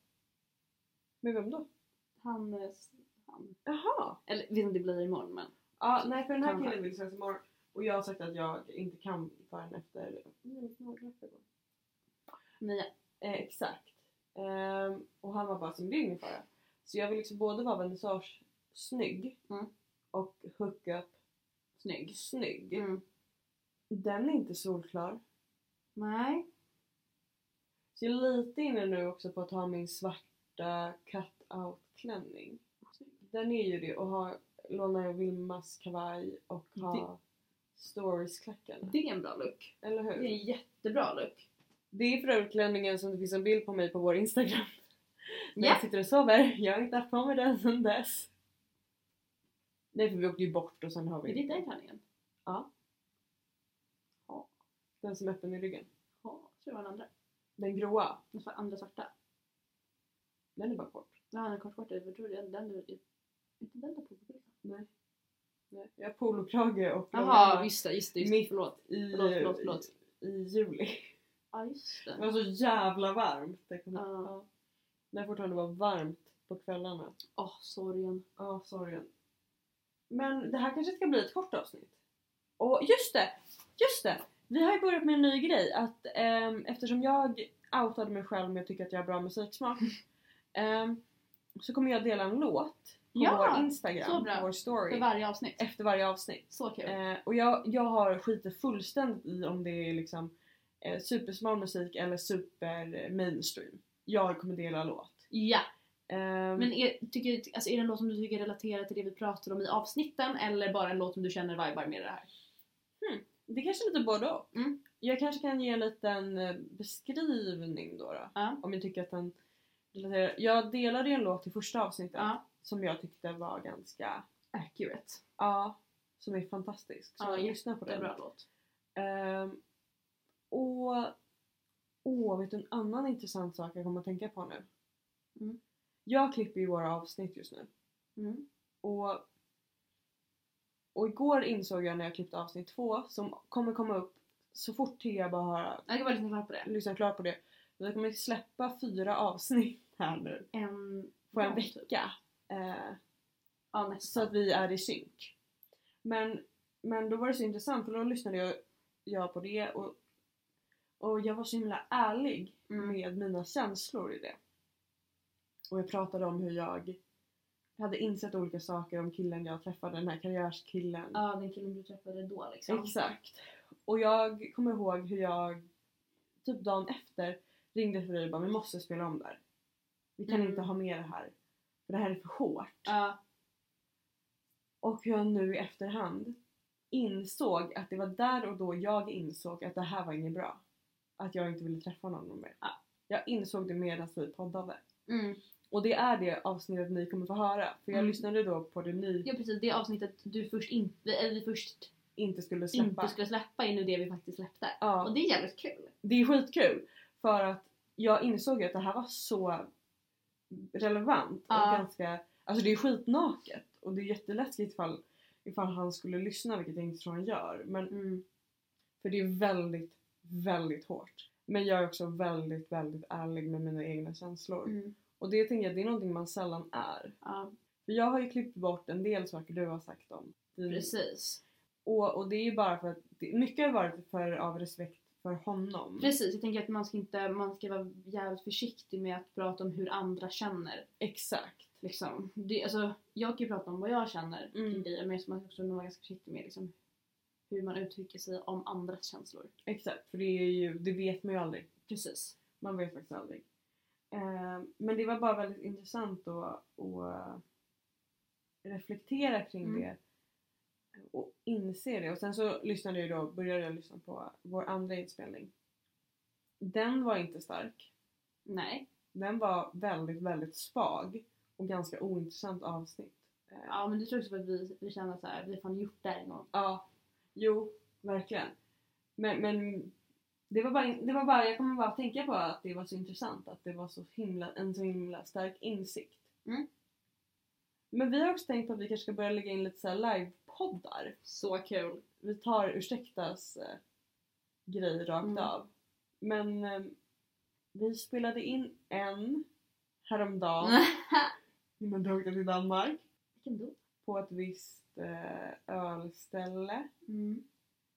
Speaker 1: Med vem då?
Speaker 2: Han... eh, han.
Speaker 1: Jaha!
Speaker 2: Eller vet inte om det blir imorgon men.
Speaker 1: Ja, nej för den här
Speaker 2: Kanske.
Speaker 1: killen vill ses imorgon och jag har sagt att jag inte kan förrän efter... Nej, det var efter igår.
Speaker 2: Nej,
Speaker 1: Eh, exakt. Ehm, och han var bara som det är ingen fara. Så jag vill liksom både vara vernissage snygg
Speaker 2: Mm.
Speaker 1: och hookup
Speaker 2: snygg.
Speaker 1: snygg.
Speaker 2: Mm.
Speaker 1: Den är inte solklar.
Speaker 2: Nej.
Speaker 1: Så jag är lite inne nu också på att ha min svarta cut-out klänning. Den är ju det och ha, lånar jag Vilmas kavaj och ha stories-klackarna.
Speaker 2: Det är en bra look.
Speaker 1: Eller
Speaker 2: Det är
Speaker 1: hur?
Speaker 2: en jättebra look.
Speaker 1: Det är för övrigt klänningen som det finns en bild på mig på vår Instagram. När
Speaker 2: Ja.
Speaker 1: jag sitter och sover. Jag har inte haft på mig den sedan dess. Nej för vi åkte ju bort och sen har
Speaker 2: Är
Speaker 1: vi
Speaker 2: det den klänningen?
Speaker 1: den som är öppen i ryggen.
Speaker 2: Ja, jag tror det var den andra.
Speaker 1: Den gråa.
Speaker 2: Den svar- andra svarta.
Speaker 1: Den är bara kort.
Speaker 2: Den andra kortkortade, jag tror det är den du... Inte den där polo
Speaker 1: Nej. Jag har polokrage och
Speaker 2: Jaha,
Speaker 1: långa
Speaker 2: just det, just det, just det.
Speaker 1: Mitt-
Speaker 2: Förlåt.
Speaker 1: i,
Speaker 2: Förlåt, förlåt, förlåt.
Speaker 1: I, i juli.
Speaker 2: Ja, just
Speaker 1: Det
Speaker 2: det.
Speaker 1: var så jävla varmt. Det kom,
Speaker 2: Ja.
Speaker 1: ja. När det fortfarande var varmt på kvällarna.
Speaker 2: Åh, sorgen.
Speaker 1: Ja, sorgen. Men det här kanske ska bli ett kort avsnitt. Och just det! Just det! Vi har ju börjat med en ny grej att ehm, eftersom jag outade mig själv med att tycka att jag har bra musiksmak ehm, så kommer jag dela en låt på
Speaker 2: Ja,
Speaker 1: vår Instagram,
Speaker 2: så bra.
Speaker 1: på vår
Speaker 2: För
Speaker 1: story,
Speaker 2: varje avsnitt.
Speaker 1: efter varje avsnitt.
Speaker 2: Så kul.
Speaker 1: Eh, och jag, jag har skiter fullständigt i om det är liksom eh, supersmal musik eller super mainstream. Jag kommer dela låt.
Speaker 2: Ja,
Speaker 1: Ehm,
Speaker 2: men är, tycker, alltså, är det en låt som du tycker relaterar till det vi pratar om i avsnitten eller bara en låt som du känner vibar med det här?
Speaker 1: det kanske är lite både och.
Speaker 2: Mm.
Speaker 1: Jag kanske kan ge en liten eh, beskrivning då. då
Speaker 2: Ja.
Speaker 1: om jag tycker att den relaterar. Jag delade ju en låt i första avsnittet
Speaker 2: Ja.
Speaker 1: som jag tyckte var ganska,
Speaker 2: Accurate.
Speaker 1: ja, som är fantastisk. Så
Speaker 2: Ja,
Speaker 1: lyssna på
Speaker 2: Det är
Speaker 1: den.
Speaker 2: en bra låt.
Speaker 1: Ehm, och åh, vet du en annan intressant sak jag kommer att tänka på nu?
Speaker 2: Mm.
Speaker 1: Jag klipper ju våra avsnitt just nu.
Speaker 2: Mm.
Speaker 1: Och, och igår insåg jag när jag klippte avsnitt två som kommer komma upp så fort Thea bara har
Speaker 2: Jag var lite nyfiken på det.
Speaker 1: lyssnat klart på det. Vi kommer släppa fyra avsnitt här nu
Speaker 2: En...
Speaker 1: på en
Speaker 2: Ja, typ.
Speaker 1: vecka. Eh,
Speaker 2: Ja,
Speaker 1: så
Speaker 2: nästan.
Speaker 1: att vi är i synk. Men, men då var det så intressant för då lyssnade jag, jag på det och, och jag var så himla ärlig
Speaker 2: Mm.
Speaker 1: med mina känslor i det. Och jag pratade om hur jag hade insett olika saker om killen jag träffade, den här karriärskillen.
Speaker 2: Ja, den killen du träffade då liksom.
Speaker 1: Exakt. Och jag kommer ihåg hur jag typ dagen efter ringde till dig och bara vi måste spela om där. Vi kan
Speaker 2: Mm.
Speaker 1: inte ha med det här. För det här är för hårt.
Speaker 2: Ja,
Speaker 1: Och hur jag nu i efterhand insåg att det var där och då jag insåg att det här var inget bra. Att jag inte ville träffa någon mer. Ah,
Speaker 2: Ja.
Speaker 1: Jag insåg det medan vi poddade.
Speaker 2: mm.
Speaker 1: Och det är det avsnittet ni kommer få höra. För jag
Speaker 2: Mm.
Speaker 1: lyssnade då på det ni
Speaker 2: ja precis. Det avsnittet du först inte, eller vi först
Speaker 1: inte skulle släppa.
Speaker 2: inte skulle släppa är nu det vi faktiskt släppte. Och
Speaker 1: Ja,
Speaker 2: det är jävligt kul.
Speaker 1: det är skitkul. För att jag insåg att det här var så relevant.
Speaker 2: Ja.
Speaker 1: Och ganska, alltså det är skitnaket. Och det är jätteläskigt ifall, ifall han skulle lyssna, vilket jag inte tror han gör. Men För det är väldigt, väldigt hårt. Men jag är också väldigt, väldigt ärlig med mina egna känslor.
Speaker 2: Mm.
Speaker 1: Och det tänker jag, det är någonting man sällan är.
Speaker 2: Ja,
Speaker 1: För jag har ju klippt bort en del saker du har sagt om. din-
Speaker 2: precis.
Speaker 1: Och, och det är ju bara för att, det, mycket har varit för, av respekt för honom.
Speaker 2: Precis, jag tänker att man ska, inte, man ska vara jävligt försiktig med att prata om hur andra känner.
Speaker 1: Exakt.
Speaker 2: Liksom. Det, alltså, jag kan ju prata om vad jag känner
Speaker 1: Mm.
Speaker 2: kring grejer men jag ska- man ska också nog vara ganska försiktig med liksom, hur man uttrycker sig om andras känslor.
Speaker 1: Exakt, för det är ju, det vet man ju aldrig.
Speaker 2: Precis.
Speaker 1: Man vet faktiskt aldrig. Eh, men det var bara väldigt intressant att, att reflektera kring
Speaker 2: Mm.
Speaker 1: det och inse det. Och sen så lyssnade jag ju då, började jag lyssna på vår andra inspelning. Den var inte stark.
Speaker 2: Nej.
Speaker 1: Den var väldigt, väldigt svag och ganska ointressant avsnitt. Eh,
Speaker 2: Ja men det tror jag också för att vi, vi känner att så här, vi har fan gjort det här en gång.
Speaker 1: ja, jo, verkligen. Men, men det, var bara, det var bara, jag kommer bara att tänka på att det var så intressant att det var så himla, en så himla stark insikt.
Speaker 2: Mm.
Speaker 1: Men vi har också tänkt på att vi kanske ska börja lägga in lite så här livepoddar.
Speaker 2: Så kul.
Speaker 1: Vi tar ursäktas eh, grej rakt
Speaker 2: Mm.
Speaker 1: av. Men eh, vi spelade in en häromdagen innan du åkte till Danmark
Speaker 2: Vilken då?
Speaker 1: på ett visst eh, ölställe.
Speaker 2: Mm.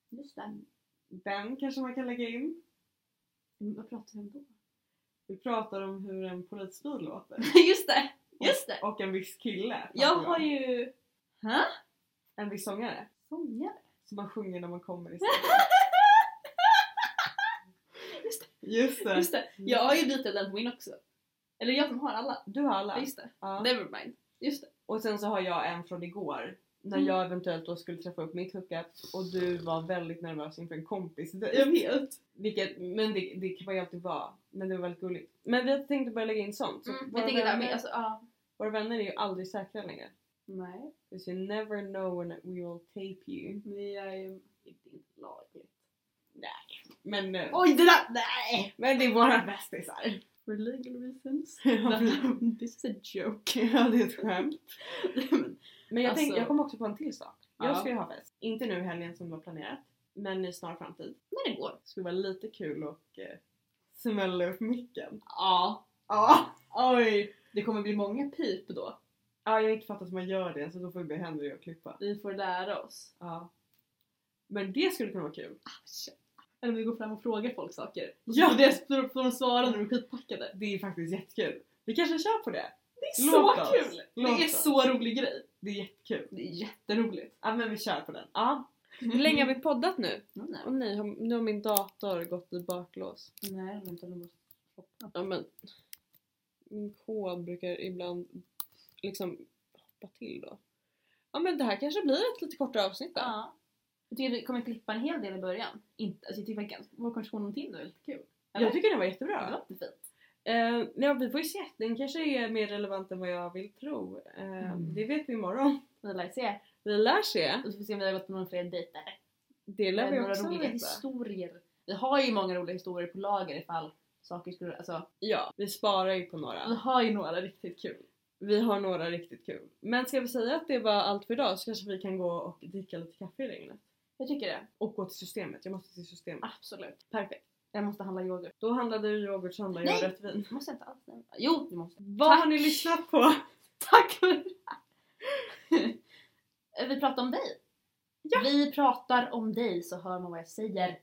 Speaker 2: Just det.
Speaker 1: Den kanske man kan lägga in.
Speaker 2: Mm, Vad pratar vi om då?
Speaker 1: Vi pratar om hur en polisbil låter.
Speaker 2: Just det! Just det!
Speaker 1: Och en viss kille.
Speaker 2: Jag
Speaker 1: pratar vi om.
Speaker 2: har ju... Hä?
Speaker 1: En viss sångare.
Speaker 2: Sångare?
Speaker 1: Som man sjunger när man kommer i Just det.
Speaker 2: Just det, jag har ju lite av den på min också. Eller jag som har alla.
Speaker 1: Du har alla?
Speaker 2: Ja, just det.
Speaker 1: Ja.
Speaker 2: Never mind. Just det.
Speaker 1: Och sen så har jag en från igår. När
Speaker 2: Mm.
Speaker 1: jag eventuellt då skulle träffa upp mitt hookup och du var väldigt nervös inför en kompis
Speaker 2: vet.
Speaker 1: Vilket, men det, det kan man ju alltid vara. Men det var väldigt gulligt. Men vi tänkte börja lägga in sånt. Så
Speaker 2: Mm,
Speaker 1: våra,
Speaker 2: jag tänker där,
Speaker 1: vänner,
Speaker 2: men alltså, ja.
Speaker 1: våra vänner är ju aldrig säkra längre.
Speaker 2: Nej.
Speaker 1: Because you never know when we will tape you.
Speaker 2: Vi är ju inte inte lagligt.
Speaker 1: Men, eh,
Speaker 2: Oj det där! Nej!
Speaker 1: men det är våra bästisar.
Speaker 2: For legal reasons.
Speaker 1: Ja,
Speaker 2: This is a joke.
Speaker 1: ja, det är ett skämt.
Speaker 2: Men-
Speaker 1: Men jag,
Speaker 2: Alltså-
Speaker 1: tänkte, jag kom också på en till sak. Jag
Speaker 2: Ja.
Speaker 1: skulle ha fest. Inte nu i helgen som var planerat. Men i snar framtid.
Speaker 2: När det går.
Speaker 1: Det skulle vara lite kul och eh, smälla upp micken.
Speaker 2: Ja.
Speaker 1: Ja! Oj!
Speaker 2: Det kommer bli många pip då.
Speaker 1: Ja, jag har inte fattat hur man gör det så då får vi be Henry att klippa.
Speaker 2: Vi får lära oss.
Speaker 1: Ja. Men det skulle kunna vara kul.
Speaker 2: Eller om vi går fram och frågar folk saker.
Speaker 1: Ja.
Speaker 2: Ja! Det får får de svara när de är skitpackade.
Speaker 1: Det är faktiskt jättekul. Vi kanske kör på det.
Speaker 2: Det är
Speaker 1: Låt
Speaker 2: så
Speaker 1: oss.
Speaker 2: kul!
Speaker 1: Låt
Speaker 2: det är
Speaker 1: oss.
Speaker 2: så rolig grej.
Speaker 1: Det är jättekul.
Speaker 2: Det är jätteroligt.
Speaker 1: Ja men vi kör på den. Ja.
Speaker 3: Hur länge har vi poddat nu?
Speaker 2: Mm, nej.
Speaker 3: Åh nej, har, nu har min dator gått i baklås.
Speaker 2: Nej, vänta nu måste jag hoppa.
Speaker 3: Ja men. Min kod brukar ibland liksom hoppa till då. Ja men det här kanske blir ett lite kortare avsnitt då.
Speaker 2: Ja. Jag tycker vi kommer klippa en hel del i början. Inte, alltså jag tycker verkligen att vår konversation om Tinder är lite kul. Eller?
Speaker 1: Jag tycker det var
Speaker 2: Det
Speaker 1: jättebra.
Speaker 2: låter fint.
Speaker 1: Eh, ja vi får ju se. Den kanske är mer relevant än vad jag vill tro. Eh,
Speaker 2: Mm.
Speaker 1: Det vet vi imorgon.
Speaker 2: Vi lär se.
Speaker 3: Vi lär se.
Speaker 2: Vi får se om vi har gått på några fler dejter.
Speaker 3: Det lär vi
Speaker 2: Eller några
Speaker 3: också
Speaker 2: roliga
Speaker 3: veta.
Speaker 2: historier. Vi har ju många roliga historier på lager ifall saker skulle... Alltså,
Speaker 3: Ja, vi sparar ju på
Speaker 2: vi
Speaker 3: några.
Speaker 2: har ju några riktigt kul.
Speaker 3: Vi har några riktigt kul. Men ska vi säga att det var allt för idag så kanske vi kan gå och dricka lite kaffe i regnet.
Speaker 2: Jag tycker det.
Speaker 1: Och gå till systemet. Jag måste till systemet.
Speaker 2: Absolut. Perfekt. Jag måste handla yoghurt.
Speaker 1: Då handlade du yoghurt så handlade jag
Speaker 2: Nej!
Speaker 1: rött vin.
Speaker 2: Jag måste inte alls nämna. Jo, det måste jag.
Speaker 1: Vad har ni lyssnat på?
Speaker 2: Tack för det här. Vi pratar om dig. Vi pratar om dig så hör man vad jag säger.